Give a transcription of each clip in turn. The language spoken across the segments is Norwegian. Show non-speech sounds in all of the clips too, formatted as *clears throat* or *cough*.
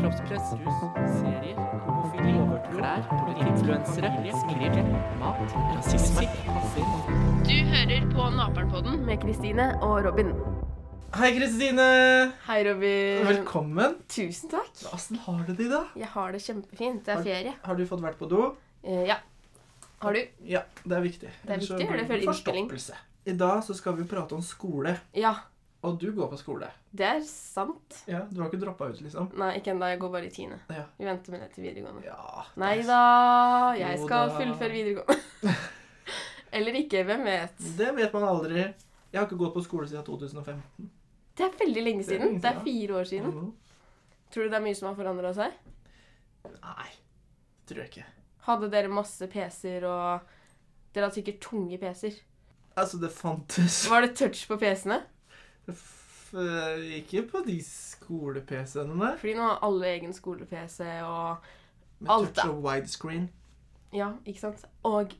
kroppspress, rus, serier, homofili, klær, influensere, skriv, mat, rasisme, passer. Du hører på Naperen-podden med Kristine og Robin. Hei, Kristine! Hei, Robin. Velkommen. Tusen takk. Åssen har du det i dag? Jeg har det kjempefint. Det er ferie. Har du fått vært på do? Eh, ja. Har du? Ja, det er viktig. Det er Ellers så viktig, blir det følger innspilling. Forstoppelse. I dag så skal vi prate om skole. Ja. Og du går på skole. Det er sant. Ja, Du har ikke droppa ut, liksom? Nei, ikke ennå. Jeg går bare i tiende. Ja. Vi venter med det til videregående. ja Nei det er- da. Jeg Jo skal da. fullføre videregående. *laughs* Eller ikke. Hvem vet. Det vet man aldri. Jeg har ikke gått på skole siden 2005. Det er veldig lenge Det er siden. lenge Det er siden. fire år siden. Mhm. Tror du det er mye som har forandra seg? Nei, det tror jeg ikke. Hadde dere masse PC-er og Dere hadde sikkert tunge PC-er. Altså, det fantes Var det touch på PC-ene? F- eh, Ikke på de skole-PC-ene. Fordi nå har alle egen skole-PC og Med Alt, touch og widescreen. Ja, ikke sant? Og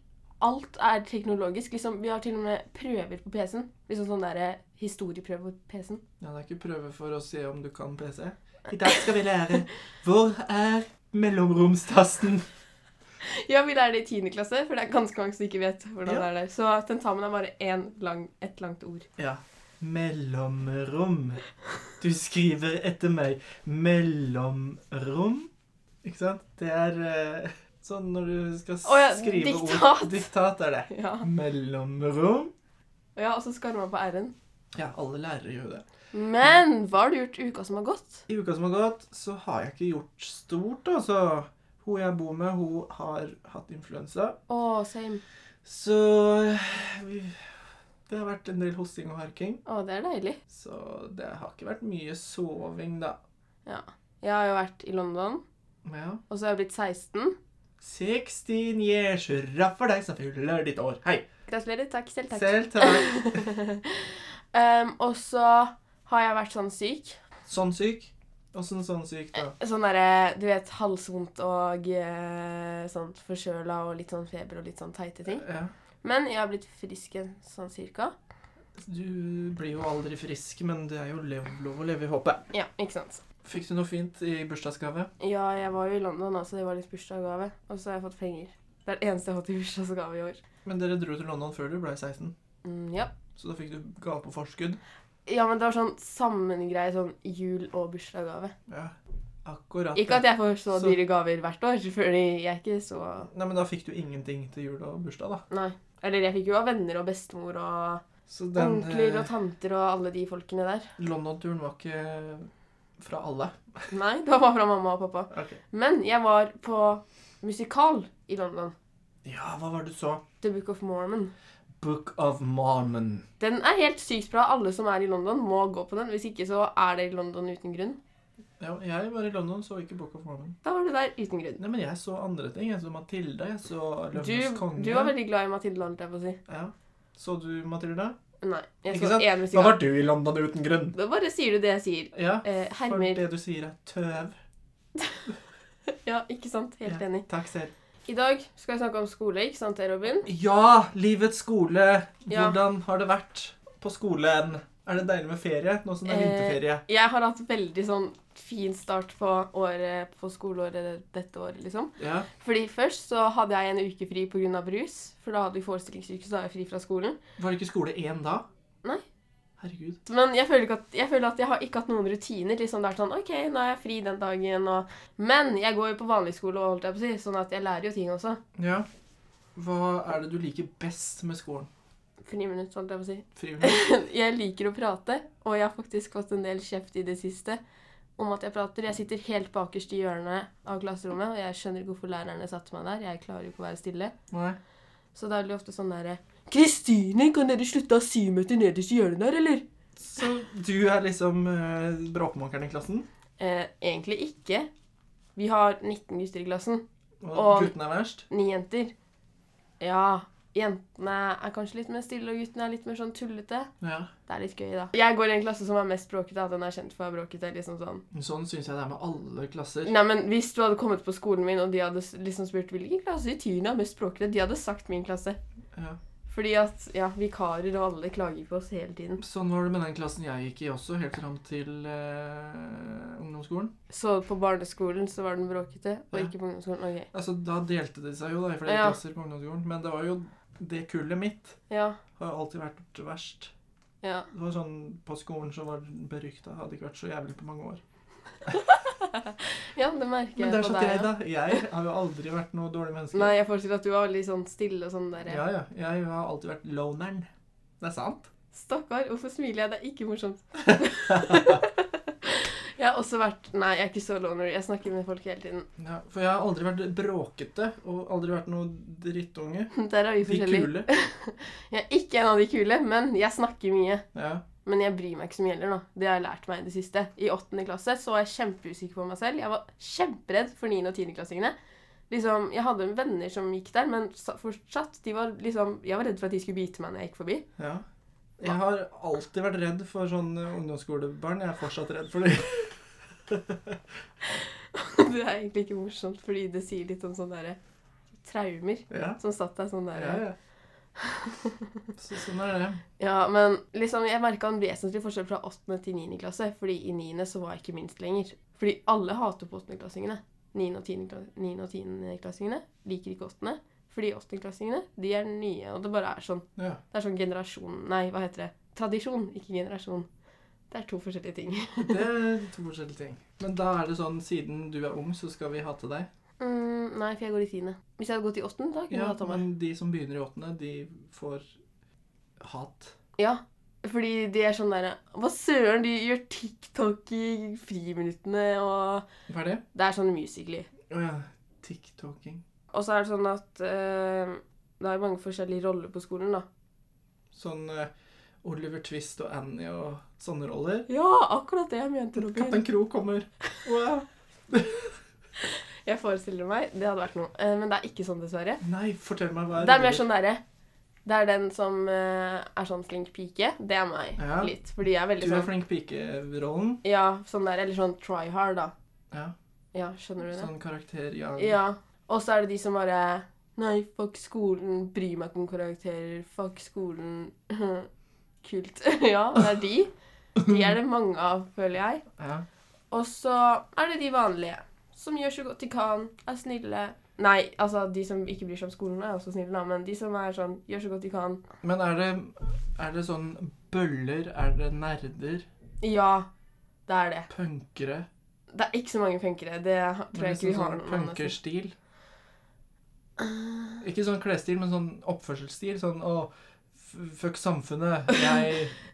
alt er teknologisk. liksom. Vi har til og med prøver på PC-en. Liksom sånn derre historieprøve på PC-en. Ja, det er ikke prøve for å se om du kan PC. I dag skal vi *laughs* lære Hvor er mellomromstasten? Ja, vi lærer det i 10. klasse, for det er ganske mange som ikke vet hvordan Ja. det er der. Så tentamen er bare én lang, ett langt ord. Ja. Mellomrom. Du skriver etter meg mellomrom. Ikke sant? Det er eh, sånn når du skal s- Å ja, skrive diktat. ord. Diktat er det. Ja, Mellomrom. Og ja, og så skarrer man på r-en. Ja, alle lærere gjør det. Men hva har du gjort i uka som har gått? I uka som har gått, så har jeg ikke gjort stort, altså. Hun jeg bor med, hun har hatt influensa. Å, same. Så vi, det har vært en del hosting og harking. Å, det er deilig. Så det har ikke vært mye soving, da. Jeg har jo vært i London, Men ja. og så har jeg blitt 16. 16 years, hurra for deg som fyller ditt år. Hei! Gratulerer. Takk. Selv takk. Selv takk. Ehm, og så har jeg vært sånn syk. Sånn syk. Åssen sånn syk, da? Sånn derre, du vet, halsvondt og eh, sånn forkjøla og litt sånn feber og litt sånn teite ting. Ja. Men jeg har blitt frisk igjen, sånn cirka. Du blir jo aldri frisk, men det er jo lev, lov å leve i håpet. Ja, ikke sant. Fikk du noe fint i bursdagsgave? Ja, jeg var jo i London også, det var litt bursdagsgave. Og så har jeg fått penger. Det er det eneste jeg har fått i bursdagsgave i år. Men dere dro til London før du ble 16, Mm, ja. så da fikk du gave på forskudd. ja, men det var sånn sammengreie sånn jul- og bursdagsgave. Ja, akkurat. Ikke at jeg får så Så- dyre gaver hvert år, fordi jeg er ikke så Nei, men da fikk du ingenting til jul og bursdag, da. Nei. Eller jeg fikk jo av venner og bestemor og Så den onkler eh, og tanter og alle de folkene der. London-turen var ikke fra alle. Nei, det var bare fra mamma og pappa. Ok. Men jeg var på musikal i London. Ja, hva var det du så? The Book of Mormon. Book of Mormon. Den er helt sykt bra. Alle som er i London, må gå på den. Hvis ikke så er det i London uten grunn. Ja, jeg var i London, så ikke Book of Mormon. Da var du der uten grunn. Nei, men jeg så andre ting. Jeg så Matilda, jeg så Du, Løvenes konge. du var veldig glad i Matilda, holdt jeg på å si. Ja. Så du Matilda? Nei. Jeg Ikke så sant? én Da musikal. var du i London uten grunn. Da bare sier du det jeg sier. Ja, Eh, for hermer. det du sier er tøv. Ja, ikke sant? Helt Ja. enig. Takk selv. I dag skal jeg snakke om skole, ikke sant det, Robin? Ja, livets skole. Ja. Hvordan har det vært på skolen? Er det deilig med ferie nå som det er Eh, vinterferie? Jeg har hatt veldig sånn fin start på, året, på skoleåret dette året, liksom. Ja. Fordi først så hadde jeg en uke fri pga. brus. For da hadde vi forestillingsuke, så da var jeg fri fra skolen. Var det ikke skole én da? Nei. Herregud. Men jeg føler, ikke at, jeg føler at jeg har ikke hatt noen rutiner. liksom Det er sånn OK, nå er jeg fri den dagen, og Men jeg går jo på vanlig skole, og holdt jeg på å si, sånn at jeg lærer jo ting også. Ja. Hva er det du liker best med skolen? Friminutt, holdt jeg på å si. *laughs* Frivillig? Jeg liker å prate, og jeg har faktisk fått en del kjeft i det siste om at jeg prater. Jeg sitter helt bakerst i hjørnet av klasserommet, og jeg skjønner ikke hvorfor lærerne satte meg der. Jeg klarer jo ikke å være stille. Nei. Så da er det jo ofte sånn derre Kristine, kan dere slutte å ha symeter nederst i hjørnet der, eller? Så du er liksom eh, bråkmakeren i klassen? Eh, egentlig ikke. Vi har 19 gutter i klassen. Og, Og- guttene er verst? Ni jenter. Ja. Jentene er kanskje litt mer stille, og guttene er litt mer sånn tullete. Ja. Det er litt gøy, da. Jeg går i en klasse som er mest bråkete. At den er kjent for å være bråkete. liksom sånn. Sånn syns jeg det er med alle klasser. Nei, men Hvis du hadde kommet på skolen min, og de hadde s- liksom spurt hvilken klasse i tiende er mest bråkete, de hadde sagt min klasse. Ja. Fordi at ja, vikarer og alle klager på oss hele tiden. Sånn var det med den klassen jeg gikk i også, helt fram til eh, ungdomsskolen. Så på barneskolen så var den bråkete, og Ja. ikke på ungdomsskolen. Ok. Altså, Da delte de seg jo da, i flere Ja. klasser på ungdomsskolen. Men det var jo det kullet mitt Ja. har jo alltid vært verst. Ja. Det var sånn, På skolen så var den berykta. Hadde ikke vært så jævlig på mange år. ja, det merker Men jeg der på satt jeg, deg. ja. da. Jeg har jo aldri vært noe dårlig menneske. Nei, jeg forestiller at du var litt sånn stille og sånn der. Ja, ja. Jeg har alltid vært loneren. Det er sant. Stakkar, hvorfor smiler jeg? Det er *laughs* ikke morsomt. jeg har også vært Nei, jeg er ikke så loner. Jeg snakker med folk hele tiden. *laughs* Ja, for jeg har aldri vært bråkete, og aldri vært noe drittunge. Der er vi De forskjellige. kule. Jeg er ikke en av de kule, men jeg snakker mye. Ja. Men jeg bryr meg ikke så mye heller, da. Det har jeg lært meg i det siste. I åttende klasse så var jeg kjempeusikker på meg selv. Jeg var kjemperedd for niende- og tiendeklassingene. Liksom, jeg hadde venner som gikk der, men sa- fortsatt de var liksom, Jeg var redd for at de skulle bite meg når jeg gikk forbi. ja. Jeg har alltid vært redd for sånne ungdomsskolebarn. Jeg er fortsatt redd for dem. *laughs* det er egentlig ikke morsomt, fordi det sier litt om sånne derre traumer *laughs* Ja. som satt der sånn der. Ja, ja. Så, sånn er det. Ja, men liksom, jeg merka en vesentlig forskjell fra 8. til 9. klasse. Fordi i 9. så var jeg ikke minst lenger. Fordi alle hater på 8.-klassingene. 9. og 10. kla- 9. og 10.-klassingene liker ikke 8. Fordi 8.-klassingene, de er nye. Og det bare er sånn. Ja. Det er sånn generasjon Nei, hva heter det? Tradisjon, ikke generasjon. Det er to forskjellige ting. *laughs* Det er to forskjellige ting. Men da er det sånn siden du er ung, så skal vi hate deg. Mm, nei, for jeg går i 10. Hvis jeg hadde gått i 8., da kunne jeg Ja, hatt av meg. men de som begynner i åttende, de får hat. Ja, fordi de er sånn derre Hva søren, de gjør TikTok i friminuttene, og Hva er det? Det er sånn musically. Å ja. TikToking. Og så er det sånn at eh, det er mange forskjellige roller på skolen, da. Sånn eh, Oliver Twist og Annie og sånne roller. Ja, akkurat det jeg mente, Robin. Kaptein Kro kommer. Wow. Jeg forestiller meg. Det hadde vært noe. Eh, men det er ikke sånn, dessverre. Nei, fortell meg hva Det er mer sånn derre Det er den som eh, er sånn flink pike. Det er meg. Ja. Litt. Fordi jeg er Du veldig er sånn flink pike-rollen. Ja, sånn der. Eller sånn try hard, da. Ja. Ja, skjønner du det? Sånn karakter, ja. Ja. Og så er det de som bare Nei, fuck skolen. Bryr meg ikke om karakterer. Fuck skolen. *laughs* Kult. *laughs* ja, det er de. De er det mange av, føler jeg. Ja. Og så er det de vanlige, som gjør så godt de kan, er snille. Nei, altså de som ikke bryr seg om skolen, er også snille, da, men de som er sånn, gjør så godt de kan. Men er det, er det sånn bøller? Er det nerder? Ja, det er det. Punkere? Det er ikke så mange punkere. Det tror jeg ikke vi har sånn noen av. nesten. punkerstil? Ah. Ikke sånn klesstil, men sånn oppførselsstil. Sånn å, f- fuck samfunnet. Jeg *clears throat*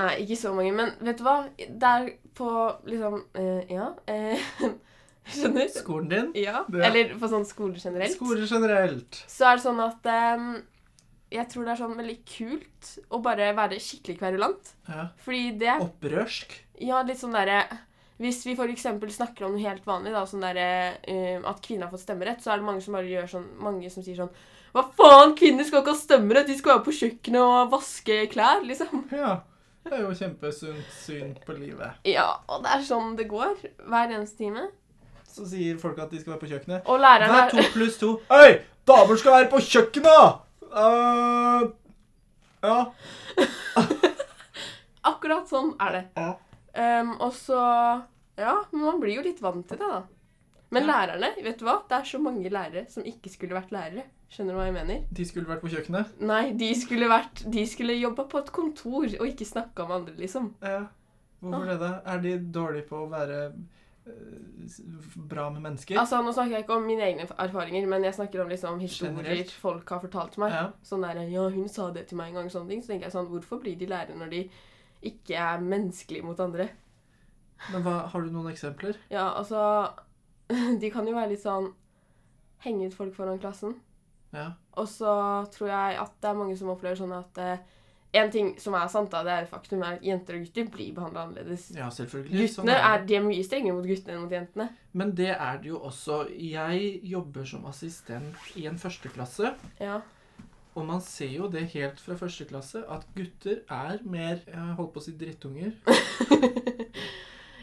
Nei, ikke så mange. Men vet du hva? Det er på liksom eh, Ja. eh, *laughs* skjønner? Skolen din? Ja. Det er- Eller på sånn skoler generelt. Skoler generelt. Så er det sånn at eh, jeg tror det er sånn veldig kult å bare være skikkelig kverulant. Ja. Fordi det er Opprørsk? Ja, litt sånn derre Hvis vi f.eks. snakker om noe helt vanlig, da, sånn derre eh, at kvinner har fått stemmerett, så er det mange som bare gjør sånn Mange som sier sånn Hva faen, kvinner skal ikke ha stemmerett! De skal være på kjøkkenet og vaske klær, liksom. Ja. Det er jo kjempesunt syn på livet. Ja, og det er sånn det går hver eneste time. Så sier folk at de skal være på kjøkkenet. Og Hva læreren er er to pluss to? Hei! Damer skal være på kjøkkenet! Uh, ja. Akkurat sånn er det. ja. Ehm, og så Ja, men man blir jo litt vant til det, da. Men lærerne, vet du hva? Det er så mange lærere som ikke skulle vært lærere. Skjønner du hva jeg mener? De skulle vært på kjøkkenet. Nei, de skulle, vært, de skulle jobba på et kontor og ikke snakka med andre, liksom. Ja. Hvorfor det? da? Er de dårlige på å være eh, s- bra med mennesker? Altså, Nå snakker jeg ikke om mine egne erfaringer, men jeg snakker om liksom historier Generelt. folk har fortalt meg. Ja. Sånn der, ja, hun sa det til meg en gang, sånne ting. Så tenker jeg sånn, hvorfor blir de lærere når de ikke er menneskelige mot andre? Men hva, har du noen eksempler? Ja, altså *laughs* De kan jo være litt sånn Henge ut folk foran klassen. Ja. Og så tror jeg at det er mange som opplever sånn at eh, En ting som er sant, da, det er faktum, er at jenter og gutter blir behandla annerledes. Ja, selvfølgelig. Sånn Guttene er er, det. de er mye strengere mot guttene enn mot jentene. Men det er det jo også. Jeg jobber som assistent i en førsteklasse. Ja. Og man ser jo det helt fra første klasse, at gutter er mer jeg holdt på å si drittunger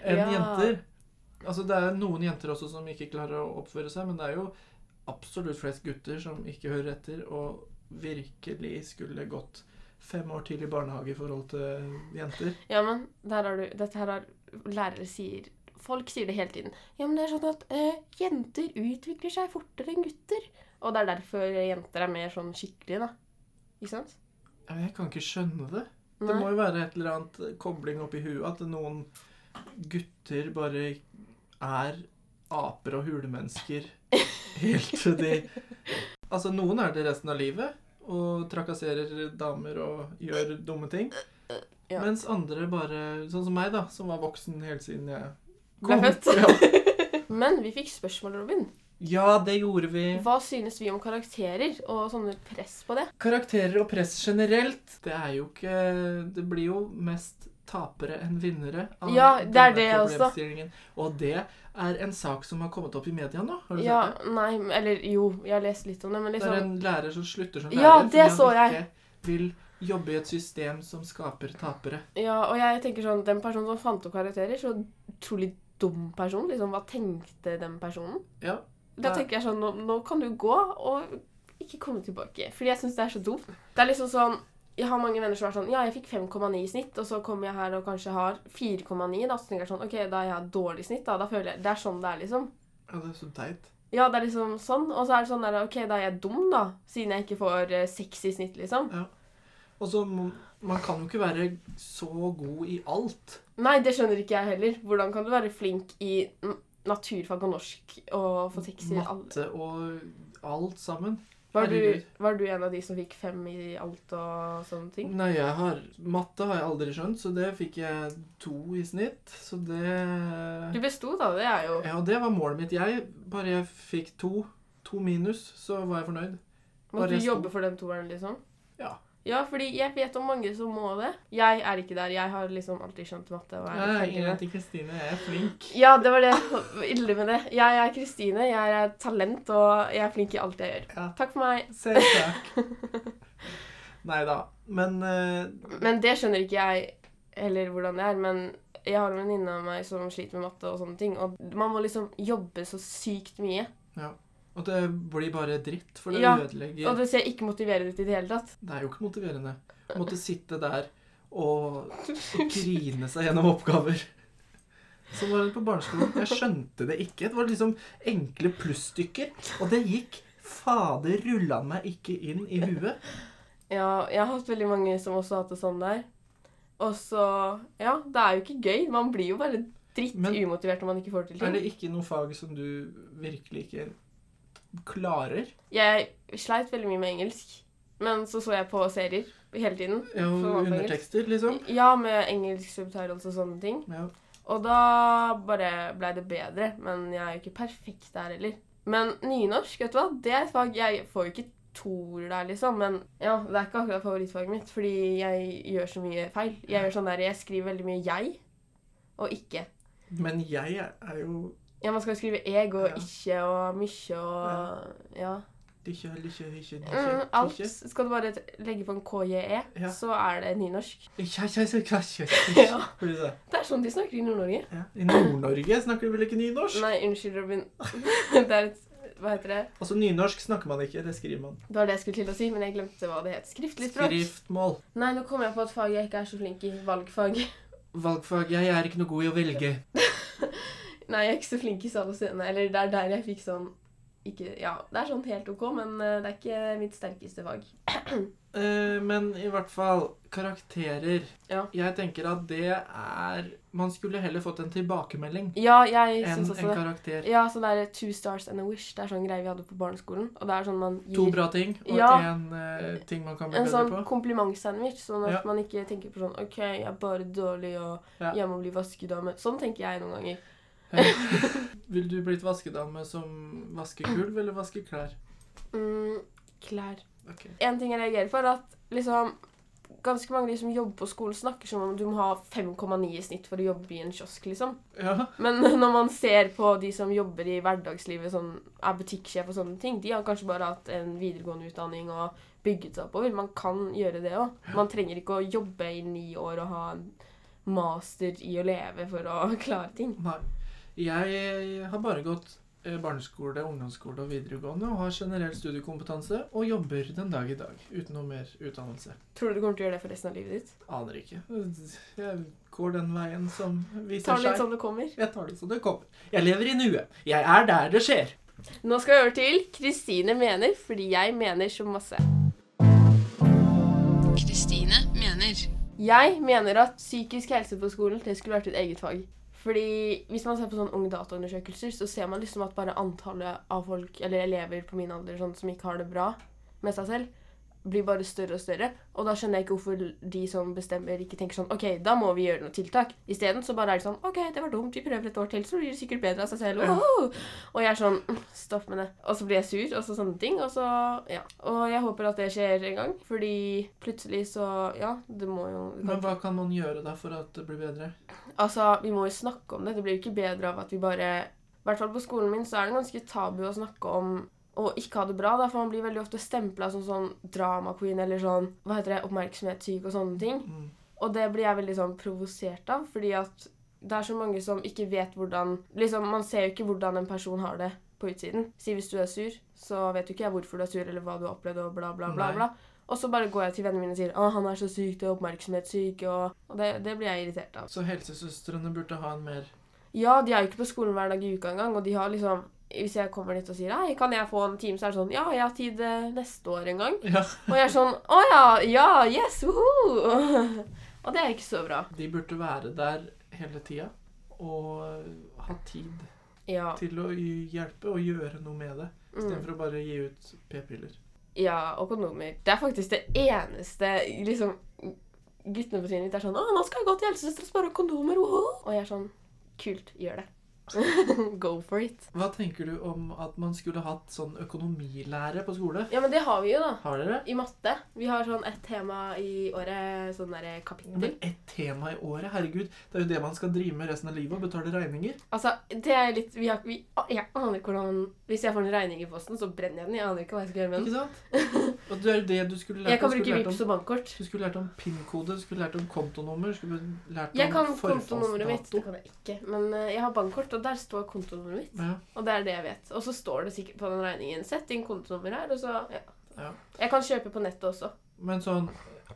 enn Ja. jenter. Altså Det er noen jenter også som ikke klarer å oppføre seg, men det er jo absolutt flest gutter som ikke hører etter og virkelig skulle gått fem år til i barnehage i forhold til jenter. Ja, men der har du, dette her har lærere sier Folk sier det hele tiden. Ja, men det er sånn at eh, jenter utvikler seg fortere enn gutter. Og det er derfor jenter er mer sånn skikkelige, da. Ikke sant? Ja, men Jeg kan ikke skjønne det. Det Nei. må jo være et eller annet kobling oppi huet at noen gutter bare er aper og hulemennesker helt til de *laughs* Altså, noen er det resten av livet og trakasserer damer og gjør dumme ting. Ja. Mens andre bare Sånn som meg, da, som var voksen helt siden jeg Ble født. Ja. Men vi fikk spørsmål, Robin. ja, det gjorde vi. Hva synes vi om karakterer og sånne press på det? Karakterer og press generelt, det er jo ikke Det blir jo mest tapere enn vinnere. Ja, det er det også. problemstillingen. Og det er en sak som har kommet opp i media nå. Har du Ja, sett det? nei, eller jo, jeg har lest litt om det, men Det er liksom en lærer som slutter som lærer Ja, det så fordi han ikke vil jobbe i et system som skaper tapere. Ja, og jeg tenker sånn, den personen som fant opp karakterer, så utrolig dum person, liksom, hva tenkte den personen? Ja. Da Nei. tenker jeg sånn, nå, nå kan du gå og ikke komme tilbake, fordi jeg synes det er så dumt. Det er liksom sånn, jeg har mange venner som er sånn, ja, jeg fikk 5,9 i snitt, og så kommer jeg her og kanskje har 4,9, da så tenker jeg sånn, ok, da har jeg dårlig snitt, da, da føler jeg, det er sånn det er liksom. ja, det er så teit. Ja, det er liksom sånn. Og så er det sånn der, OK, da er jeg dum, da. Siden jeg ikke får eh, seks i snitt, liksom. Og så må- Man kan jo ikke være så god i alt. Nei, det skjønner ikke jeg heller. Hvordan kan du være flink i n- naturfag og norsk og få seks i alle Matte og alt sammen. var du, herregud. var du en av de som fikk fem i alt og sånne ting? Nei, jeg har Matte har jeg aldri skjønt, så det fikk jeg to i snitt. Så det Du besto, da. Det er jo Ja, og det var målet mitt. Jeg bare jeg fikk to, to minus, så var jeg fornøyd. Måtte bare du sto. jobbe for den toeren, liksom? Ja. Ja, fordi jeg vet om mange som må det. Jeg er ikke der. Jeg har liksom alltid skjønt matte. og er litt Jeg er flinkere. ingen til Kristine. Jeg er *laughs* flink. Ja, det var det ille med det. Jeg *laughs* er Kristine. Jeg er talent, og jeg er flink i alt jeg gjør. Ja. Takk for meg. Selv takk. Nei da. Men eh, Men det skjønner ikke jeg heller hvordan det er. Men jeg har en venninne av meg som sliter med matte og sånne ting. Og man må liksom jobbe så sykt mye. Og det blir bare dritt, for det Ja, ødelegger Og det ser ikke motiverende ut i det hele tatt. Det er jo ikke motiverende. Å måtte sitte der og, og grine seg gjennom oppgaver. Sånn var det på barneskolen. Jeg skjønte det ikke. Det var liksom enkle plusstykker. Og det gikk fader rullan meg ikke inn i huet. Ja, jeg har hatt veldig mange som også har hatt det sånn der. Og så Ja, det er jo ikke gøy. Man blir jo bare dritt Men- umotivert når man ikke får til Er ting. det ikke noe fag som du virkelig ikke klarer? Jeg sleit veldig mye med engelsk. Men så så jeg på serier hele tiden. Ja, Som var på undertekster, liksom? Ja, med engelsk subtitles og sånne ting. Ja. Og da bare blei det bedre, men jeg er jo ikke perfekt der heller. Men nynorsk, vet du hva, det er et fag Jeg får jo ikke toer der, liksom, men ja, det er ikke akkurat favorittfaget mitt, fordi jeg gjør så mye feil. Jeg gjør sånn der, jeg skriver veldig mye 'jeg' og 'ikke'. Men jeg er jo Ja, Man skal jo skrive 'eg' og Ja. 'ikke' og 'mykje' og ja. ikke, ikke, ikke, Mm, ikke, alt. ikke. Skal du bare legge på en 'kje', Ja. så er det nynorsk. Ja, ja, ja, ja, ja. Ja. Blir det sånn. Det er sånn de snakker i Nord-Norge. Ja. I Nord-Norge snakker du vel ikke nynorsk? Nei, unnskyld, Robin. *laughs* det er et Hva heter det? Altså, nynorsk snakker man ikke, det skriver man. Det var det jeg skulle til å si, men jeg glemte hva det het. Skriftlig språk. Skriftmål. Nei, nå kom jeg på et fag jeg ikke er så flink i. Valgfag. *laughs* Valgfag. Jeg er ikke noe god i å velge. Nei, jeg er ikke så flink i sal og scene. Eller det er der jeg fikk sånn ikke, Ja, det er sånn helt OK, men eh, det er ikke mitt sterkeste fag. Eh, men i hvert fall karakterer. Ja. Jeg tenker at det er Man skulle heller fått en tilbakemelding Ja, jeg enn en syns også det. karakter. Ja, sånn der Two stars and a wish. Det er sånn greie vi hadde på barneskolen. Og det er sånn man To gir bra ting og Ja. en eh, ting man kan bli en bedre sånn på. komplimentsandwich, sånn at Ja. man ikke tenker på sånn OK, jeg er bare dårlig, og Ja. jeg må bli vaskedame. Sånn tenker jeg noen ganger. Vil du blitt vaskedame som vasker gulv eller vasker klær? Mm, klær. Ok. En ting jeg reagerer for, er at liksom, ganske mange av de som jobber på skolen, snakker som om du må ha 5,9 i snitt for å jobbe i en kiosk. liksom. Ja. Men *laughs* når man ser på de som jobber i hverdagslivet, som er butikksjef og sånne ting, de har kanskje bare hatt en videregående utdanning og bygget seg oppover. Man kan gjøre det òg. Man trenger ikke å jobbe i ni år og ha en master i å leve for å *laughs* klare ting. Nei. Jeg har bare gått eh, barneskole, ungdomsskole og videregående og har generell studiekompetanse og jobber den dag i dag uten noe mer utdannelse. Tror du du kommer til å gjøre det for resten av livet ditt? Aner ikke. Jeg går den veien som Tar viser det litt seg. som det kommer. Jeg tar det som det kommer. Jeg lever i nuet. Jeg er der det skjer. Nå skal vi over til Kristine mener, fordi jeg mener så masse. Kristine mener. Jeg mener at psykisk helse på skolen det skulle vært et eget fag. Fordi Hvis man ser på sånne unge dataundersøkelser, så ser man liksom at bare antallet av folk, eller elever på min alder sånn, som ikke har det bra med seg selv, blir bare større og større. Og da skjønner jeg ikke hvorfor de som bestemmer, ikke tenker sånn OK, da må vi gjøre noe tiltak. Isteden så bare er det sånn OK, det var dumt, vi prøver et år til, så blir det sikkert bedre av seg selv. Woho! Og jeg er sånn «Mm, Stopp med det. Og så blir jeg sur, og så sånne ting. Og så Ja. Og jeg håper at det skjer en gang, fordi plutselig så Ja, det må jo det kan Men hva kan man gjøre da for at det blir bedre? Altså, vi må jo snakke om det. Det blir jo ikke bedre av at vi bare I hvert fall på skolen min så er det ganske tabu å snakke om å ikke ha det bra, da, for man blir veldig ofte stempla som sånn drama queen eller sånn hva heter det, oppmerksomhetssyk og sånne ting. Mm. Og det blir jeg veldig sånn provosert av, fordi at det er så mange som ikke vet hvordan liksom Man ser jo ikke hvordan en person har det på utsiden. Si hvis du er sur, så vet jo ikke jeg hvorfor du er sur, eller hva du har opplevd, og bla, bla, bla. Nei. bla. Og så bare går jeg til vennene mine og sier 'Å, han er så syk, det er oppmerksomhetssyk', og, og det, det blir jeg irritert av. Så helsesøstrene burde ha en mer Ja, de er jo ikke på skolen hver dag i uka engang, og de har liksom Hvis jeg kommer dit og sier Hei, kan jeg få en time, så er det sånn Ja, jeg har tid eh, neste år en gang. Ja. Og jeg er sånn Å ja, ja, yes, woho! *laughs* Og det er ikke så bra. De burde være der hele tida og ha tid Ja. til å hjelpe og gjøre noe med det, Mm. istedenfor å bare gi ut p-piller. ja og kondomer. Det er faktisk det eneste liksom Guttene på trinnet mitt er sånn Å, nå skal jeg gå til helsesøster og spørre om kondomer, woho! Og jeg er sånn Kult. Gjør det. *laughs* Go for it. Hva tenker du om at man skulle hatt sånn økonomilære på skole? Ja, men det har vi jo, da. Har dere? I matte. Vi har sånn ett tema i året, sånn derre kapittel. Men ett tema i året? Herregud, det er jo det man skal drive med resten av livet og betale regninger. Altså, det er litt vi har, vi, å, Jeg aner ikke hvordan Hvis jeg får en regning i posten, så brenner jeg den. Jeg aner ikke hva jeg skal gjøre med Ikke den. sant? Og det er jo det du *laughs* skulle lært Jeg kan du bruke skulle lært Vipps og bankkort. Du skulle lært om PIN-kode, du skulle lært om kontonummer, du skulle lært om Jeg kan kontonummeret mitt. forfallsdato. Det kan jeg ikke. Men eh, jeg har bankkort, og der står kontonummeret mitt. Ja, Og det er det jeg vet. Og så står det sikkert på den regningen. Sett inn kontonummer her, og så ja. ja. Jeg kan kjøpe på nettet også. Men sånn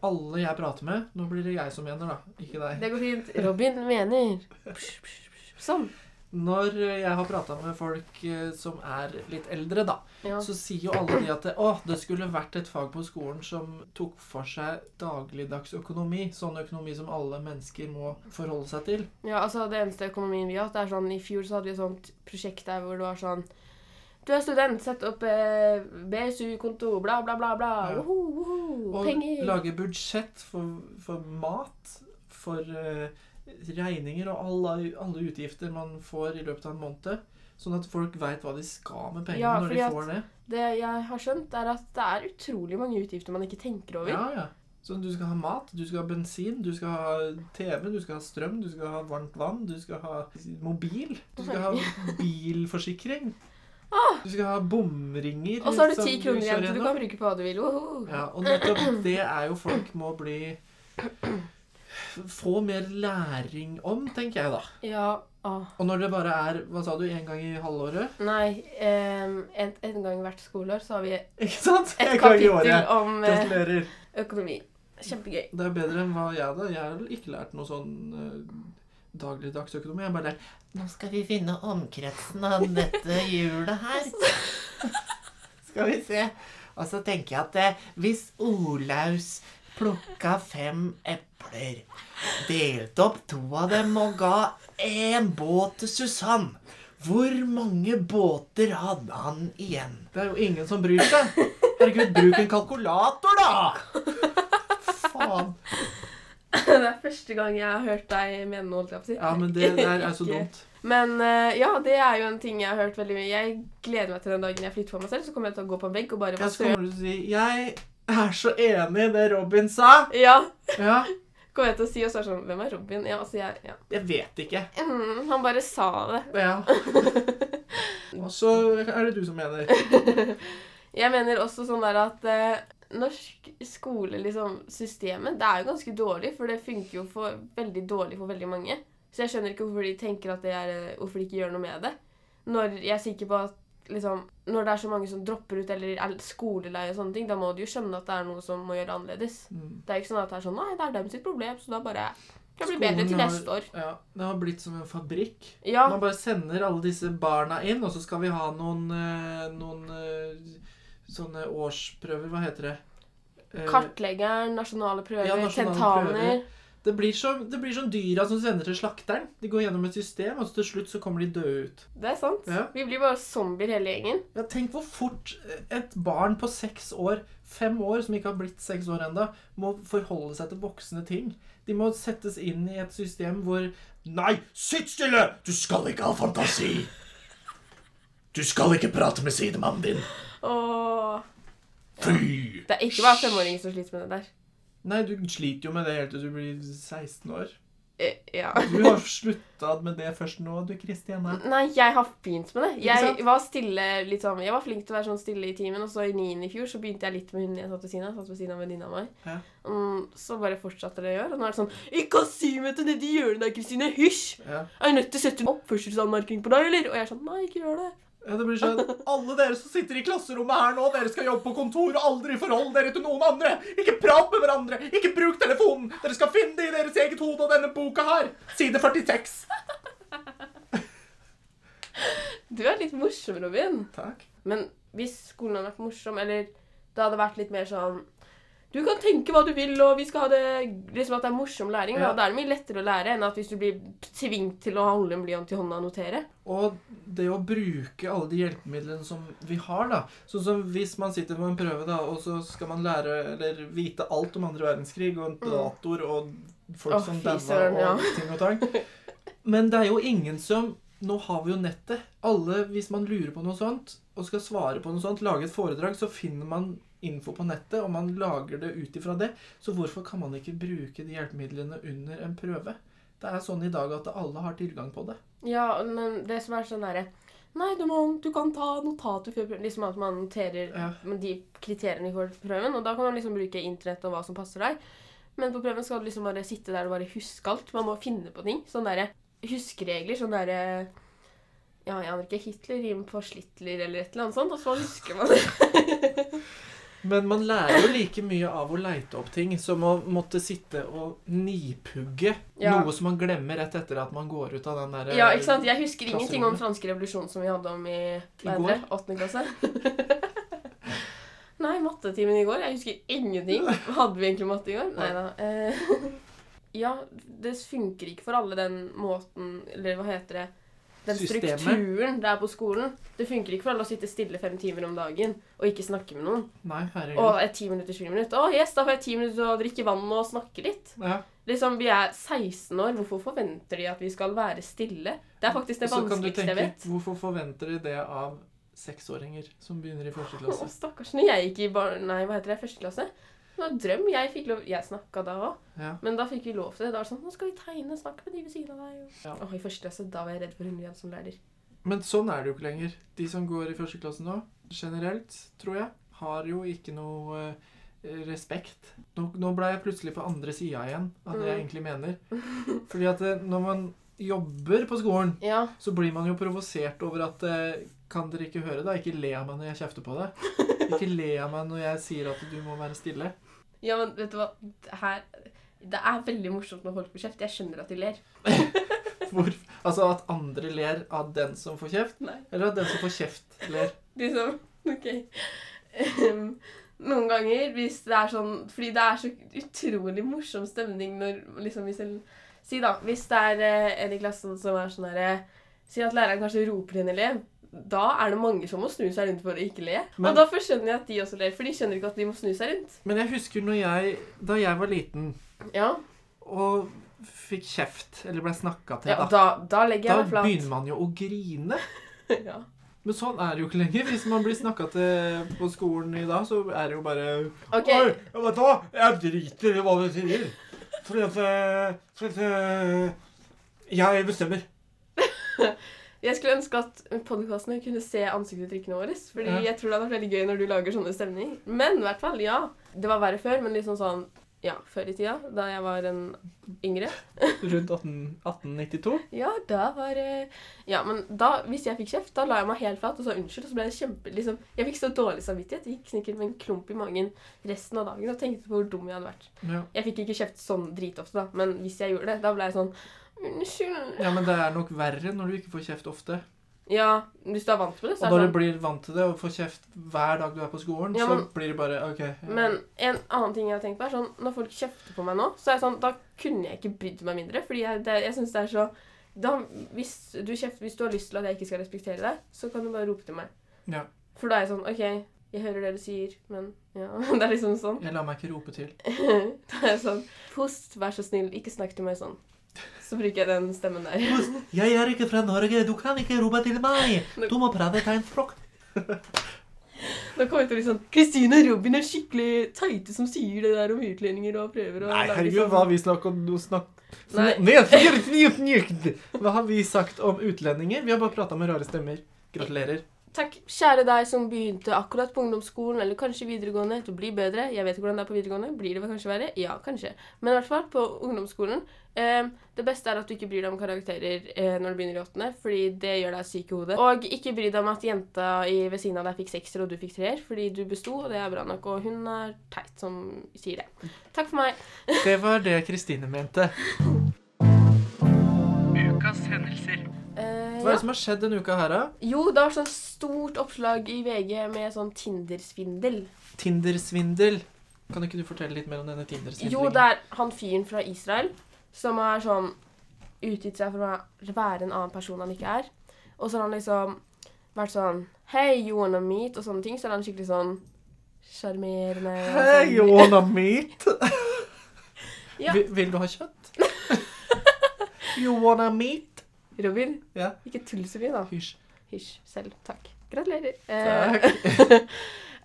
Alle jeg prater med Nå blir det jeg som mener, da. Ikke deg. Det går fint. Robin mener psh, psh, psh. Sånn. Når jeg har prata med folk eh, som er litt eldre, da, Ja. så sier jo alle de at det, å, det skulle vært et fag på skolen som tok for seg dagligdags økonomi. Sånn økonomi som alle mennesker må forholde seg til. Ja, altså det eneste økonomien vi har hatt, er sånn I fjor så hadde vi et sånt prosjekt der hvor det var sånn Du er student, sett opp eh, BSU-konto, bla, bla, bla, bla. Ja. Woho, woho. Og Penger. lage budsjett for, for mat, for eh, regninger og alle, alle utgifter man får i løpet av en måned. Sånn at folk veit hva de skal med pengene Ja, når fordi de at- får det. Det jeg har skjønt, er at det er utrolig mange utgifter man ikke tenker over. Ja, ja. Så du skal ha mat, du skal ha bensin, du skal ha TV, du skal ha strøm, du skal ha varmt vann, du skal ha mobil, du skal *laughs* ha bilforsikring. Du skal ha bomringer. Ah! Og så har du som ti kroner igjen kjører til du gjennom. kan bruke på hva du vil. Woho. Ja, og nettopp det er jo folk må bli Få mer læring om, tenker jeg da. Ja. Ah. Og når det bare er hva sa du, én gang i halvåret? Nei. em, en, en gang hvert skoleår så har vi et Ikke sant? *laughs* En gang i kapittel året. om eh, Gratulerer. økonomi. Kjempegøy. *laughs* Det er bedre enn hva jeg hadde. Jeg har vel ikke lært noe sånn eh, dagligdags økonomi. Jeg bare Nå skal vi finne omkretsen av dette hjulet her. *laughs* Skal vi se. Og så tenker jeg at eh, hvis Olaus plukka fem epler, delte opp to av dem og ga én båt til Susann, hvor mange båter hadde han igjen? Det er jo ingen som bryr seg. Herregud, bruk en kalkulator, da! Faen. Det er første gang jeg har hørt deg mene noe. holdt jeg på å si. Ja, men det der er så Ikke- dumt. Men eh, ja, det er jo en ting jeg har hørt veldig mye. Jeg gleder meg til den dagen jeg flytter for meg selv, så kommer jeg til å gå på en vegg og bare Ja, være så søt. kommer du til å si Jeg er så enig i det Robin sa. Ja, Ja. kommer jeg til å si, og så er det sånn Hvem er Robin? Ja, altså jeg ja. *clears throat* Jeg vet ikke. Mm, Han bare sa det. Ja. Og så er det du som mener. Jeg mener også sånn der at eh, norsk skole, liksom, systemet, det er jo ganske dårlig, for det funker jo for, veldig dårlig for veldig mange. Så jeg skjønner ikke hvorfor de tenker at det er eh, Hvorfor de ikke gjør noe med det. når jeg er sikker på at liksom, Når det er så mange som dropper ut eller er skoleleie og sånne ting, da må du jo skjønne at det er noe som må gjøre annerledes. Mm. Det er ikke sånn at det er sånn Nei, det er dem sitt problem, så da bare Jeg blir Skolen bedre til har- neste år. Ja, det har blitt som en fabrikk. Ja. Man bare sender alle disse barna inn, og så skal vi ha noen, eh, noen eh, sånne årsprøver Hva heter det? Eh, Kartleggeren, nasjonale prøver, Ja, nasjonale tentaner prøver. Det blir, som, det blir som dyra som sender til slakteren. De går gjennom et system, og så til slutt så kommer de døde ut. Det er sant. Ja. Vi blir bare zombier hele gjengen. Ja, Tenk hvor fort eh, et barn på seks år, fem år, som ikke har blitt seks år ennå, må forholde seg til voksne ting. De må settes inn i et system hvor Nei, sitt stille! Du skal ikke ha fantasi. Du skal ikke prate med sidemannen din. Og Fy! det er ikke bare femåringer som sliter med det der. Nei, du sliter jo med det helt til du blir 16 år. Eh, Ja. Du har slutta med det først nå, du Kristianne. *laughs* Nei, jeg har begynt med det. sant? Jeg var stille litt sånn, jeg var flink til å være sånn stille i timen, og så i 9. i fjor så begynte jeg litt med hunden jeg satt ved siden av. Satt ved siden av en venninne av meg. Ja. Mm, så bare fortsatte det å gjøre. Og nå er det sånn Ikke si meg til nedi hjørnet der, Kristine! Hysj! Ja. Er jeg nødt til å sette en oppførselsanmerkning på deg, eller? Og jeg er sånn Nei, ikke gjør det. Ja, det blir sånn Alle dere som sitter i klasserommet her nå, dere skal jobbe på kontor og aldri forholde dere til noen andre. Ikke prat med hverandre. Ikke bruk telefonen. Dere skal finne det i deres eget hode og denne boka her. Side 46. Du er litt morsom, Robin. Takk. Men hvis skolen hadde vært morsom, eller det hadde vært litt mer sånn Du kan tenke hva du vil, og vi skal ha det liksom at det er morsom læring. Ja. Da, da er det mye lettere å lære enn at hvis du blir tvunget til å holde en blyant i hånda og notere. Og det å bruke alle de hjelpemidlene som vi har, da. Sånn som hvis man sitter på en prøve, da, og så skal man lære eller vite alt om andre verdenskrig og datoer og folk Åh, som Mm. fy daua søren, og ja. ting og tang. Men det er jo ingen som Nå har vi jo nettet. Alle, hvis man lurer på noe sånt og skal svare på noe sånt, lage et foredrag, så finner man info på nettet, og man lager det ut ifra det. Så hvorfor kan man ikke bruke de hjelpemidlene under en prøve? Det er sånn i dag at alle har tilgang på det. Ja, men det som er sånn derre Nei, du, må, du kan ta notater før prøven. Liksom at man noterer Ja. med de kriteriene for prøven. Og da kan man liksom bruke internett og hva som passer deg. Men på prøven skal du liksom bare sitte der og bare huske alt. Man må finne på ting. Sånne derre huskeregler. Sånn derre Ja, jeg aner ikke. Hitler rimer på Slitler eller et eller annet sånt. Og så husker man det. Men man lærer jo like mye av å leite opp ting som å måtte sitte og nipugge Ja. noe som man glemmer rett etter at man går ut av den der Ja, ikke sant? Jeg husker ingenting om klasserommet. franske revolusjon som vi hadde om i hva I heter går? det, åttende klasse. *laughs* Nei, mattetimen i går. Jeg husker ingenting. Hadde vi egentlig matte i går? Nei da. Eh, *laughs* ja, det funker ikke for alle den måten Eller hva heter det? Den Systemet. strukturen det er på skolen. Det funker ikke for alle å sitte stille fem timer om dagen og ikke snakke med noen. Nei, herregud. Og et ti minutters friminutt. Å, yes, da får jeg ti minutter til å drikke vann og snakke litt. Ja. Liksom, Vi er 16 år, hvorfor forventer de at vi skal være stille? Det er faktisk det Så kan du vanskeligste jeg tenke, vet. hvorfor forventer de det av seksåringer som begynner i første Å, klasse? stakkars. Når jeg gikk i bar nei, hva heter det, første klasse Det var drøm. Jeg fikk lov Jeg snakka da òg, Ja. men da fikk vi lov til det. Da var det sånn Nå skal vi tegne, snakke med de ved siden av deg. Og... Ja. Åh, I første klasse da var jeg redd for hun igjen som lærer. Men sånn er det jo ikke lenger. De som går i første klasse nå, generelt, tror jeg, har jo ikke noe eh, respekt. Nå, nå ble jeg plutselig på andre sida igjen av Mm. det jeg egentlig mener. Fordi at eh, når man jobber på skolen, Ja. så blir man jo provosert over at eh, Kan dere ikke høre, da? Ikke le av meg når jeg kjefter på deg. *laughs* Ikke le av meg når jeg sier at du må være stille. ja, men vet du hva? Det Her Det er veldig morsomt når folk får kjeft. Jeg skjønner at de ler. Hvor, altså at andre ler av den som får kjeft, Nei. eller at den som får kjeft, ler. Liksom, ok. Ehm, noen ganger, hvis det er sånn Fordi det er så utrolig morsom stemning når liksom hvis en, Si da, hvis det er eh, en i klassen som er sånn herre Si at læreren kanskje roper til en elev. Da er det mange som må snu seg rundt for å ikke le. Men- og da forskjønner jeg at de også ler, for de skjønner ikke at de må snu seg rundt. Men jeg husker når jeg, da jeg var liten Ja, og fikk kjeft, eller ble snakka til, ja da, da, da legger da jeg meg flat. begynner man jo å grine. *laughs* ja. Men sånn er det jo ikke lenger. Hvis man blir snakka til på skolen i dag, så er det jo bare Ok, Oi, ja, vet du hva? Jeg driter i hva du sier. Fordi at, eh, fordi at eh, Jeg bestemmer. Jeg skulle ønske at podkastene kunne se ansiktsuttrykkene våre. Fordi Ja. jeg tror det hadde vært veldig gøy når du lager sånne stemninger. Men i hvert fall, ja. Det var verre før, men liksom sånn Ja, før i tida, da jeg var en yngre. Rundt 18, 1892. Ja, da var det- Ja, men da, hvis jeg fikk kjeft, da la jeg meg helt flat og sa unnskyld. Og så ble jeg kjempe... Liksom, jeg fikk så dårlig samvittighet. Jeg gikk sikkert med en klump i magen resten av dagen og tenkte på hvor dum jeg hadde vært. Ja. Jeg fikk ikke kjeft sånn dritofte, da, men hvis jeg gjorde det, da ble jeg sånn Unnskyld. ja, men det er nok verre når du ikke får kjeft ofte. Ja, hvis du er vant med det, Og så er når det du sånn. blir vant til det og får kjeft hver dag du er på skolen, Ja, men- så blir det bare OK. ja. Men en annen ting jeg har tenkt på, er sånn når folk kjefter på meg nå, så er jeg sånn Da kunne jeg ikke brydd meg mindre, fordi jeg, det, jeg syns det er så da, hvis, du kjeft, hvis du har lyst til at jeg ikke skal respektere deg, så kan du bare rope til meg. Ja. For da er jeg sånn OK, jeg hører det du sier, men ja *laughs* Det er liksom sånn. Jeg lar meg ikke *laughs* rope til. da er jeg sånn Post, vær så snill, ikke snakk til meg sånn. Så bruker jeg den stemmen der. *laughs* Jeg er ikke fra Norge, du kan ikke rope til meg. Du må prate tegnspråk. Nå kommer jeg til å bli sånn Kristine og Robin er skikkelig teite som sier det der om utlendinger og prøver å sånn Nei, herregud, hva har vi snakket om? Noe snakk... Nei. Nei, *laughs* fnyk, fnyk, fnyk. Hva har vi sagt om utlendinger? Vi har bare prata med rare stemmer. Gratulerer. Takk, kjære deg som begynte akkurat på ungdomsskolen eller kanskje videregående. Du blir bedre. Jeg vet ikke hvordan det er på videregående. Blir det vel kanskje verre? Ja, kanskje. Men i hvert fall på ungdomsskolen. Eh, det beste er at du ikke bryr deg om karakterer eh, når du begynner i åttende, fordi det gjør deg syk i hodet. Og ikke bry deg om at jenta i ved siden av deg fikk sekser og du fikk treer, fordi du besto, og det er bra nok. Og hun er teit som sier det. Takk for meg. Det var det Kristine mente. Ukas hendelser. Eh, Hva er det som har skjedd denne uka her, da? Jo, det var sånn stort oppslag i VG med sånn Tinder-svindel. Tindersvindel. Kan ikke du fortelle litt mer om denne Jo, Tindersvindelen? det er han fyren fra Israel som er sånn utgitt seg for å være en annen person han ikke er. Og så har han liksom vært sånn Hei, you wanna meet? Og sånne ting. Så er han skikkelig sånn sjarmerende. og Hey, sånn. you wanna meet? *laughs* Ja. Vil, vil du ha kjøtt? *laughs* you wanna meet? Robin, Ja. ikke tull så mye, da. Hysj. Hysj selv. Takk. Gratulerer. Eh, Takk.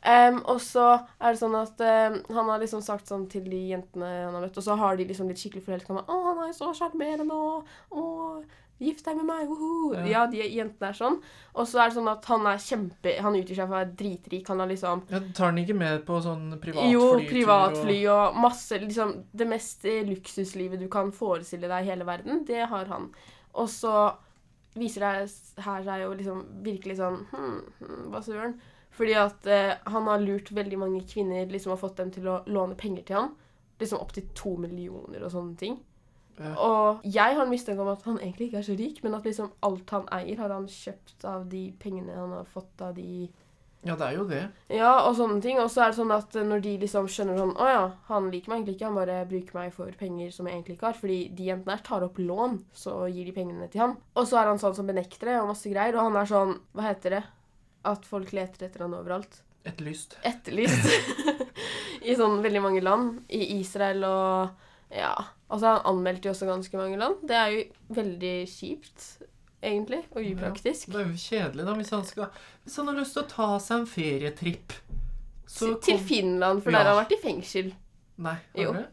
Em, og så er det sånn at em, han har liksom sagt sånn til de jentene han har møtt, og så har de liksom blitt skikkelig forelsket. Han bare, Å, han er så sjarmerende, og, og gift deg med meg, woho. Ja. Ja, de jentene er sånn. Og så er det sånn at han er kjempe Han utgir seg for å være dritrik. Han har liksom Ja, tar den ikke med på sånn privatfly? jo, privatfly og masse liksom, Det mest eh, luksuslivet du kan forestille deg i hele verden, det har han. Og så viser det s- her seg jo liksom virkelig sånn hmm, hmm, Hva søren? Fordi at eh, han har lurt veldig mange kvinner liksom har fått dem til å låne penger til han. Liksom opptil to millioner og sånne ting. Ja. Og jeg har en mistanke om at han egentlig ikke er så rik, men at liksom alt han eier, har han kjøpt av de pengene han har fått av de Ja, det er jo det. ja, og sånne ting. Og så er det sånn at eh, når de liksom skjønner sånn Å ja, han liker meg egentlig ikke, han bare bruker meg for penger som jeg egentlig ikke har. Fordi de jentene her tar opp lån, så gir de pengene til han. Og så er han sånn som benekter det og masse greier. Og han er sånn Hva heter det? At folk leter etter han overalt. Et lyst. Etterlyst. *laughs* I sånn veldig mange land. I Israel og Ja. Og så er han anmeldt i også ganske mange land. Det er jo veldig kjipt, egentlig. Og upraktisk. Det er jo kjedelig, da, hvis han skal Hvis han har lyst til å ta seg en ferietripp, så Til Finland, for Ja. der har han vært i fengsel. Nei, Jo. har du?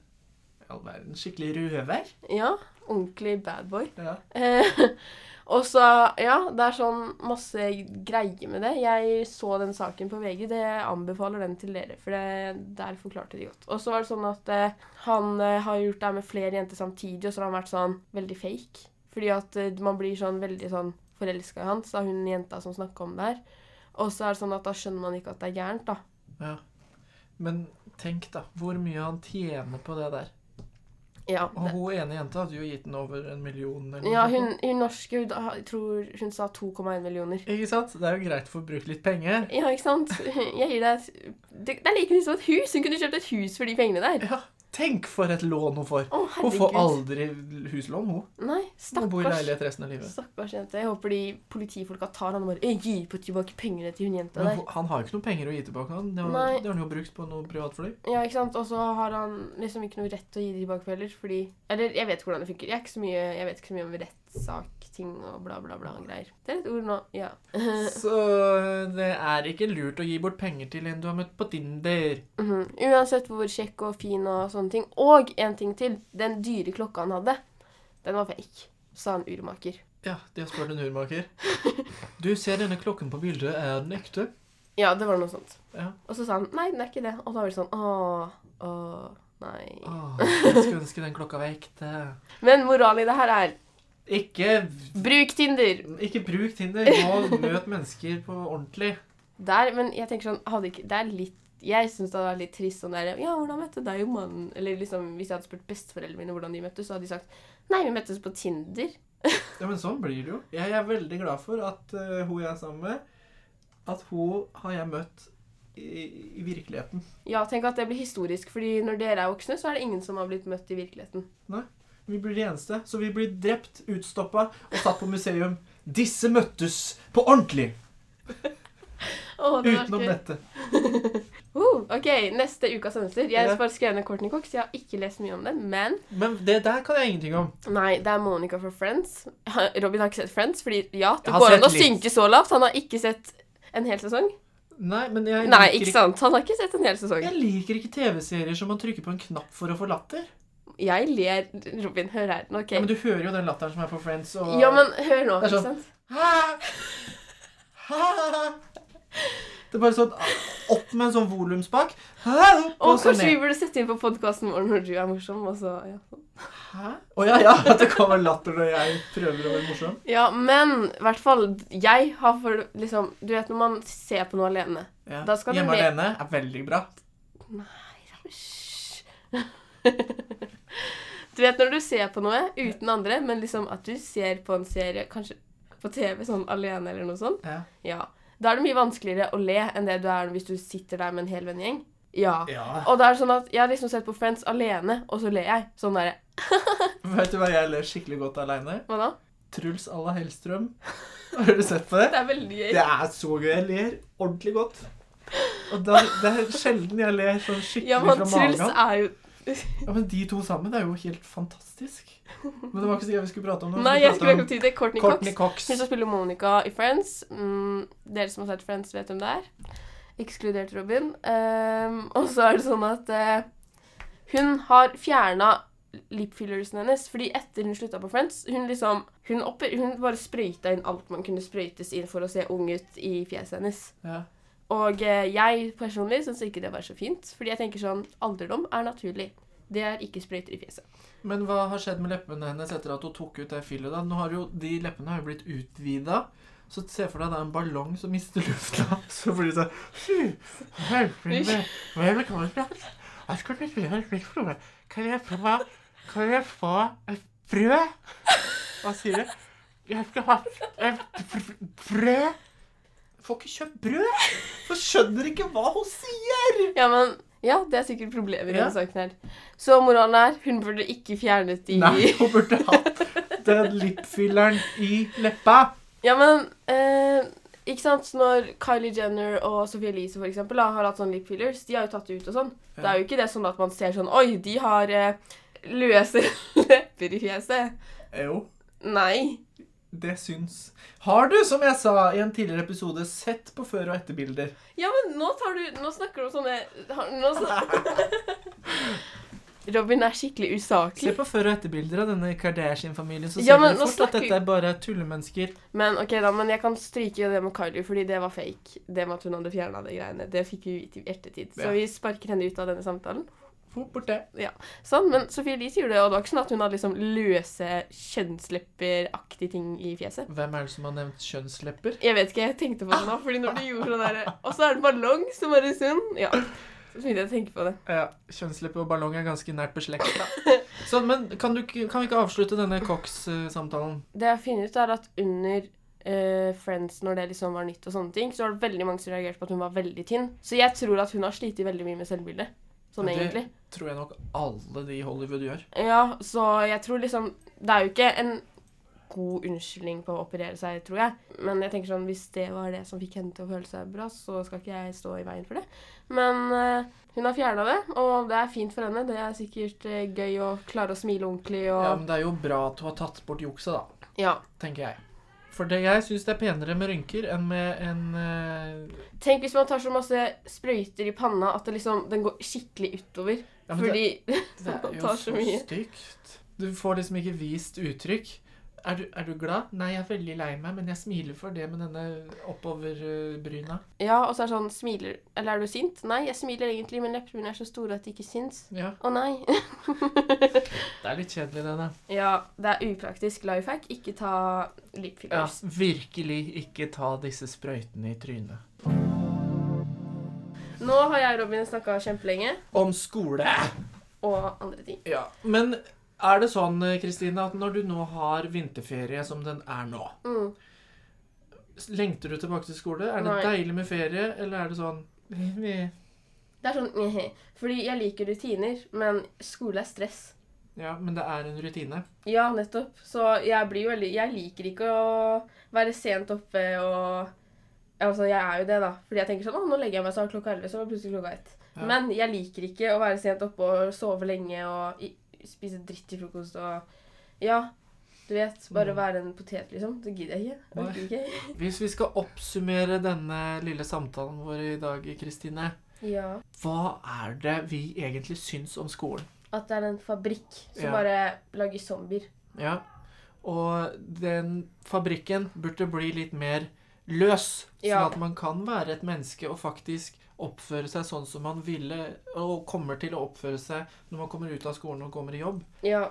I all verden, skikkelig røver? Ja. Ordentlig badboy. Ja. Eh, *laughs* og så, ja, det er sånn masse greier med det. Jeg så den saken på VG, det anbefaler den til dere, for det, der forklarte de godt. Og så var det sånn at eh, han eh, har gjort det her med flere jenter samtidig, og så har han vært sånn veldig fake. Fordi at eh, man blir sånn veldig sånn forelska i han, sa hun jenta som snakka om det her. Og så er det sånn at da skjønner man ikke at det er gærent, da. ja. Men tenk, da, hvor mye han tjener på det der. Ja, Og hun ene jenta hadde jo gitt den over en million. Eller noe ja sånt. hun, hun norske, hun, da- jeg tror hun sa 2,1 millioner. Ikke sant? Det er jo greit å få brukt litt penger. Ja, ikke sant? Jeg gir deg et, det, det er like mye som et hus. Hun kunne kjøpt et hus for de pengene der. Ja, tenk for et lån hun får. Å, Hun får herregud. aldri huslån, hun. Nei, Hun bor i stakkars. leilighet resten av livet. Stakkars jente. Jeg håper de politifolka tar han og bare «Jeg gir på tilbake pengene til hun jenta Men der. hun- han har jo ikke noe penger å gi tilbake. Han. Det, har, Nei. det har han jo brukt på noe privatfly. Ja, ikke sant? Og så har han liksom ikke noe rett til å gi det tilbake heller, fordi Eller jeg vet ikke hvordan det funker. Jeg, er ikke så mye, jeg vet ikke så mye om rettssak, ting og bla, bla, bla og greier. Det er et ord nå. Ja. Så det er ikke lurt å gi bort penger til en du har møtt på Tinder. Mhm. Uansett hvor kjekk og fin og sånne ting. Og en ting til. Den dyre klokka han hadde, den var fake, sa en urmaker. Ja, de har spurt en urmaker. Du ser denne klokken på bildet, er den ekte? Ja, det var noe sånt. Ja. Og så sa han nei, den er ikke det. Og da var det sånn åh, åh. Nei. Åh, jeg skulle ønske den klokka var ekte. Men moralen i det her er Ikke, bruk Tinder! ikke bruk Tinder. Gå og møt mennesker på ordentlig. Der, men jeg tenker sånn hadde ikke, Det er litt Jeg syns det hadde vært litt trist sånn der Ja, hvordan møtte deg og mannen Eller liksom hvis jeg hadde spurt besteforeldrene mine hvordan de møttes, så hadde de sagt Nei, vi møttes på Tinder. Ja, men sånn blir det jo. Jeg er veldig glad for at eh, hun jeg er sammen med, at hun har jeg møtt i, i virkeligheten. Ja, tenk at det blir historisk, fordi når dere er voksne, så er det ingen som har blitt møtt i virkeligheten. Vi blir de eneste. Så vi blir drept, utstoppa og satt på museum. Disse møttes på ordentlig Åh, det var utenom gøy. dette. Uh, ok, neste ukas hendelser. Jeg Ja. har bare skrevet ned Courtney Cox. Jeg har ikke lest mye om den, men Men det der kan jeg ingenting om. Nei, det er Monica fra Friends. Robin har ikke sett Friends, fordi ja, det Jeg har går an sett å litt. synke så lavt. Han har ikke sett en hel sesong. Nei, men jeg Nei, ikke sant. Han har ikke sett en hel sesong. Jeg liker ikke TV-serier som man trykker på en knapp for å få latter. Jeg ler Robin, hør her. Nå, OK. Ja, men du hører jo den latteren som er på Friends. Og... Ja, men hør nå. Det er ikke sånn. sant? Det er bare sånn opp med en sånn volumspak. Og Og så kanskje vi ned. burde sette inn på podkasten vår når du er morsom. Og så, ja. Hæ? Å ja, ja. At det kommer latter når jeg prøver å være morsom. ja, men i hvert fall Jeg har for liksom Du vet når man ser på noe alene Ja. Da skal du Hjemme le- alene er veldig bra. Hysj. *laughs* Du vet når du ser på noe uten andre, men liksom at du ser på en serie kanskje på TV sånn alene eller noe sånt, Ja. ja. Da er det mye vanskeligere å le enn det du er hvis du sitter der med en hel vennegjeng. Ja. ja. Og det er sånn at jeg har liksom sett på Friends alene, og så ler jeg. Sånn derre Vet du hva jeg ler skikkelig godt aleine? Hva da? Truls à la Hellstrøm. Har du sett på det? Det er veldig gøy. Det er så gøy. Jeg ler ordentlig godt. Og da, det er sjelden jeg ler sånn skikkelig Ja, men fra Truls magen. er jo Ja, men de to sammen det er jo helt fantastisk. Men det var ikke så gøy vi skulle prate om det. Nei, jeg skulle ikke til det. Courtney Cox. Courtney Cox. Hun som spiller Monica i Friends. Mm, dere som har sett Friends, vet hvem det er. Ekskludert Robin. Ehm, og så er det sånn at eh, hun har fjerna lipfillersene hennes. Fordi etter hun slutta på Friends, hun liksom Hun, opper, hun bare sprøyta inn alt man kunne sprøytes inn for å se ung ut i fjeset hennes. Ja. Og eh, jeg personlig syns ikke det var så fint. Fordi jeg tenker sånn Alderdom er naturlig. Det er ikke sprøyter i fjeset. Men hva har skjedd med leppene hennes etter at hun tok ut det fillet? da? Nå har jo, De leppene har jo blitt utvida. Så se for deg det er en ballong som mister lufta. *laughs* Så blir det sånn «Fy, Velkommen. Velkommen. Jeg skulle si en slik flue. Kan jeg få, kan jeg få et brød? Hva sier du? Jeg skal ha et br- brød. Får ikke kjøpt brød. For skjønner ikke hva hun sier. Ja, men ja, det er sikkert problemer i Ja. denne saken her. Så moralen er hun burde ikke fjernet de Nei, hun burde hatt den lipfilleren i leppa. *laughs* Ja, men eh, ikke sant, når Kylie Jenner og Sophie Elise for eksempel da, har hatt sånn lip fillers, de har jo tatt det ut og sånn. Det er jo ikke det sånn at man ser sånn Oi, de har eh, løse *laughs* lepper i fjeset. Jo. Nei. Det syns. Har du, som jeg sa i en tidligere episode, sett på før- og etterbilder? Ja, men nå tar du Nå snakker du om sånne har- nå sn- *laughs* Robin er skikkelig Se usaklig. på før- og etterbilder av denne Kardashian-familien, så Ja, ser men du nå fort at snakker- dette er bare tullemennesker. Men ok da, men jeg kan stryke det med Kylie, fordi det var fake. Det med at hun hadde fjerna de greiene. Det fikk vi vite i ettertid. Så Ja. vi sparker henne ut av denne samtalen. Fort borte. Sånn, men Sophie Elise gjorde det, og det var ikke sånn at hun hadde liksom løse kjønnslepperaktige ting i fjeset. Hvem er det som har nevnt kjønnslepper? Jeg vet ikke, jeg tenkte på det nå, fordi når du gjorde sånn der Og så er det en ballong som bare sånn Ja. Så begynte jeg å tenke på det. Ja, kjønnslepper og ballong er ganske nært *laughs* beslekta. Sånn, men kan, du, ikke- kan vi ikke avslutte denne Cox-samtalen? Det jeg har funnet ut, er at under eh, Friends, når det liksom var nytt og sånne ting, så var det veldig mange som reagerte på at hun var veldig tynn. Så jeg tror at hun har slitt veldig mye med selvbildet. Sånn Ja, det- egentlig. Tror jeg nok alle de i Hollywood gjør. Ja, så jeg tror liksom Det er jo ikke en god unnskyldning på å operere seg, tror jeg. Men jeg tenker sånn, hvis det var det som fikk henne til å føle seg bra, så skal ikke jeg stå i veien for det. Men eh, hun har fjerna det, og det er fint for henne. Det er sikkert eh, gøy å klare å smile ordentlig og Ja, Ja. men det er jo bra at hun har tatt bort jukset, da. Tenker jeg. For det, jeg syns det er penere med rynker enn med en eh, Tenk hvis man tar så masse sprøyter i panna at det liksom, den går skikkelig utover. ja, men det- fordi Det Man er jo tar så så mye. stygt. Du får liksom ikke vist uttrykk. Er du, er du glad? Nei, jeg er veldig lei meg, men jeg smiler for det med denne eh, oppoverbryna. *laughs* Ja, og så er det sånn smiler, Eller er du sint? Nei, jeg smiler egentlig, men leppene mine er så store at de ikke syns. Ja, Å nei. det er litt kjedelig, det, da. ja, det er upraktisk. Life hack. Ikke ta lip Ja, fillers. virkelig ikke ta disse sprøytene i trynet. Nå har jeg og Robin snakka kjempelenge Om skole! og andre ting. Ja, men er det sånn, Kristine, at når du nå har vinterferie som den er nå, Mm. lengter du tilbake til skole? Er det Nei. deilig med ferie, eller er det sånn Det er sånn *laughs* «Njehe». Fordi jeg liker rutiner, men skole er stress. Ja, men det er en rutine. Ja, nettopp. Så jeg blir jo veldig Jeg liker ikke å være sent oppe og Altså, jeg er jo det, da. Fordi jeg tenker sånn Å, nå legger jeg meg så klokka 11, så var det plutselig klokka 1. Ja. Men jeg liker ikke å være sent oppe og sove lenge og i, spise dritt til frokost og Ja, du vet. Bare Mm. være en potet, liksom. Det gidder jeg ikke. Jeg orker ikke. Hvis vi skal oppsummere denne lille samtalen vår i dag, Kristine, Ja. hva er det vi egentlig syns om skolen? At det er en fabrikk som Ja. bare lager zombier. Ja, og den fabrikken burde bli litt mer løs, sånn Ja. at man kan være et menneske og faktisk oppføre seg sånn som man ville, og kommer til å oppføre seg når man kommer ut av skolen og kommer i jobb. Ja.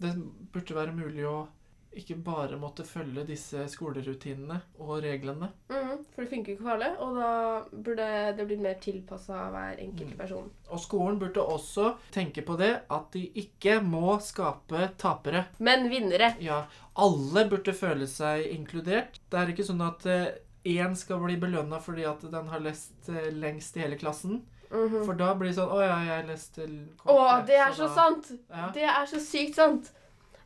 Det burde være mulig å ikke bare måtte følge disse skolerutinene og reglene. Mhm, for det funker jo ikke for alle, og da burde det blitt mer tilpassa hver enkelt Mm. person. Og skolen burde også tenke på det at de ikke må skape tapere. Men vinnere! Ja, alle burde føle seg inkludert. Det er ikke sånn at eh, én skal bli belønna fordi at den har lest eh, lengst i hele klassen. Mhm. For da blir det sånn Å ja, jeg leste l- kort, Å, jeg», det er så da- sant! Ja. Det er så sykt sant!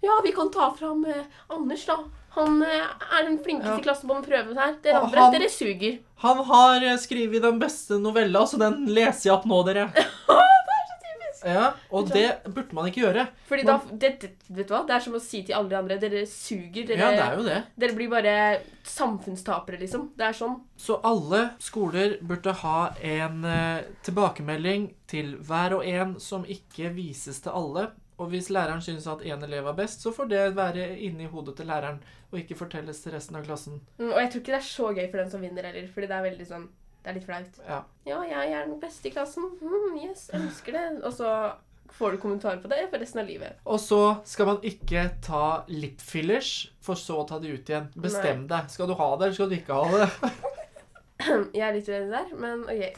Ja, vi kan ta fram eh, Anders, da. Han eh, er den flinkeste Ja. i klassen på den prøven her. Dere Og andre, han- dere suger. Han har eh, skrevet den beste novella, så den leser jeg opp nå, *laughs* dere. det er så typisk. Ja, Og det burde man ikke gjøre. Fordi da det, det, Vet du hva? Det er som å si til alle de andre dere suger. Dere, Ja, det er jo det. dere blir bare samfunnstapere, liksom. Det er sånn. Så alle skoler burde ha en eh, tilbakemelding til hver og en som ikke vises til alle. Og hvis læreren syns at én elev er best, så får det være inni hodet til læreren. Og ikke fortelles til resten av klassen. Mm, og jeg tror ikke det er så gøy for den som vinner heller, fordi det er veldig sånn Det er litt flaut. Ja. Ja, jeg er den beste i klassen. Mm, yes, jeg elsker det. Og så får du kommentarer på det for resten av livet. *clears throat* Og så skal man ikke ta lip fillers, for så å ta de ut igjen. Bestem deg. Skal du ha det, eller skal du ikke ha det? *laughs* Jeg er litt uenig der, men ok.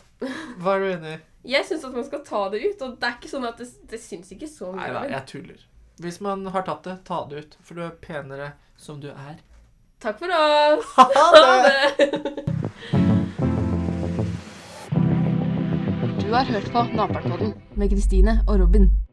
Hva er du enig i? Jeg syns at man skal ta det ut, og det er ikke sånn at det, det syns ikke så mye. Nei da, jeg tuller. Hvis man har tatt det, ta det ut. For du er penere som du er. Takk for oss! Ha det! Du har hørt på Naperpodden med Kristine og Robin.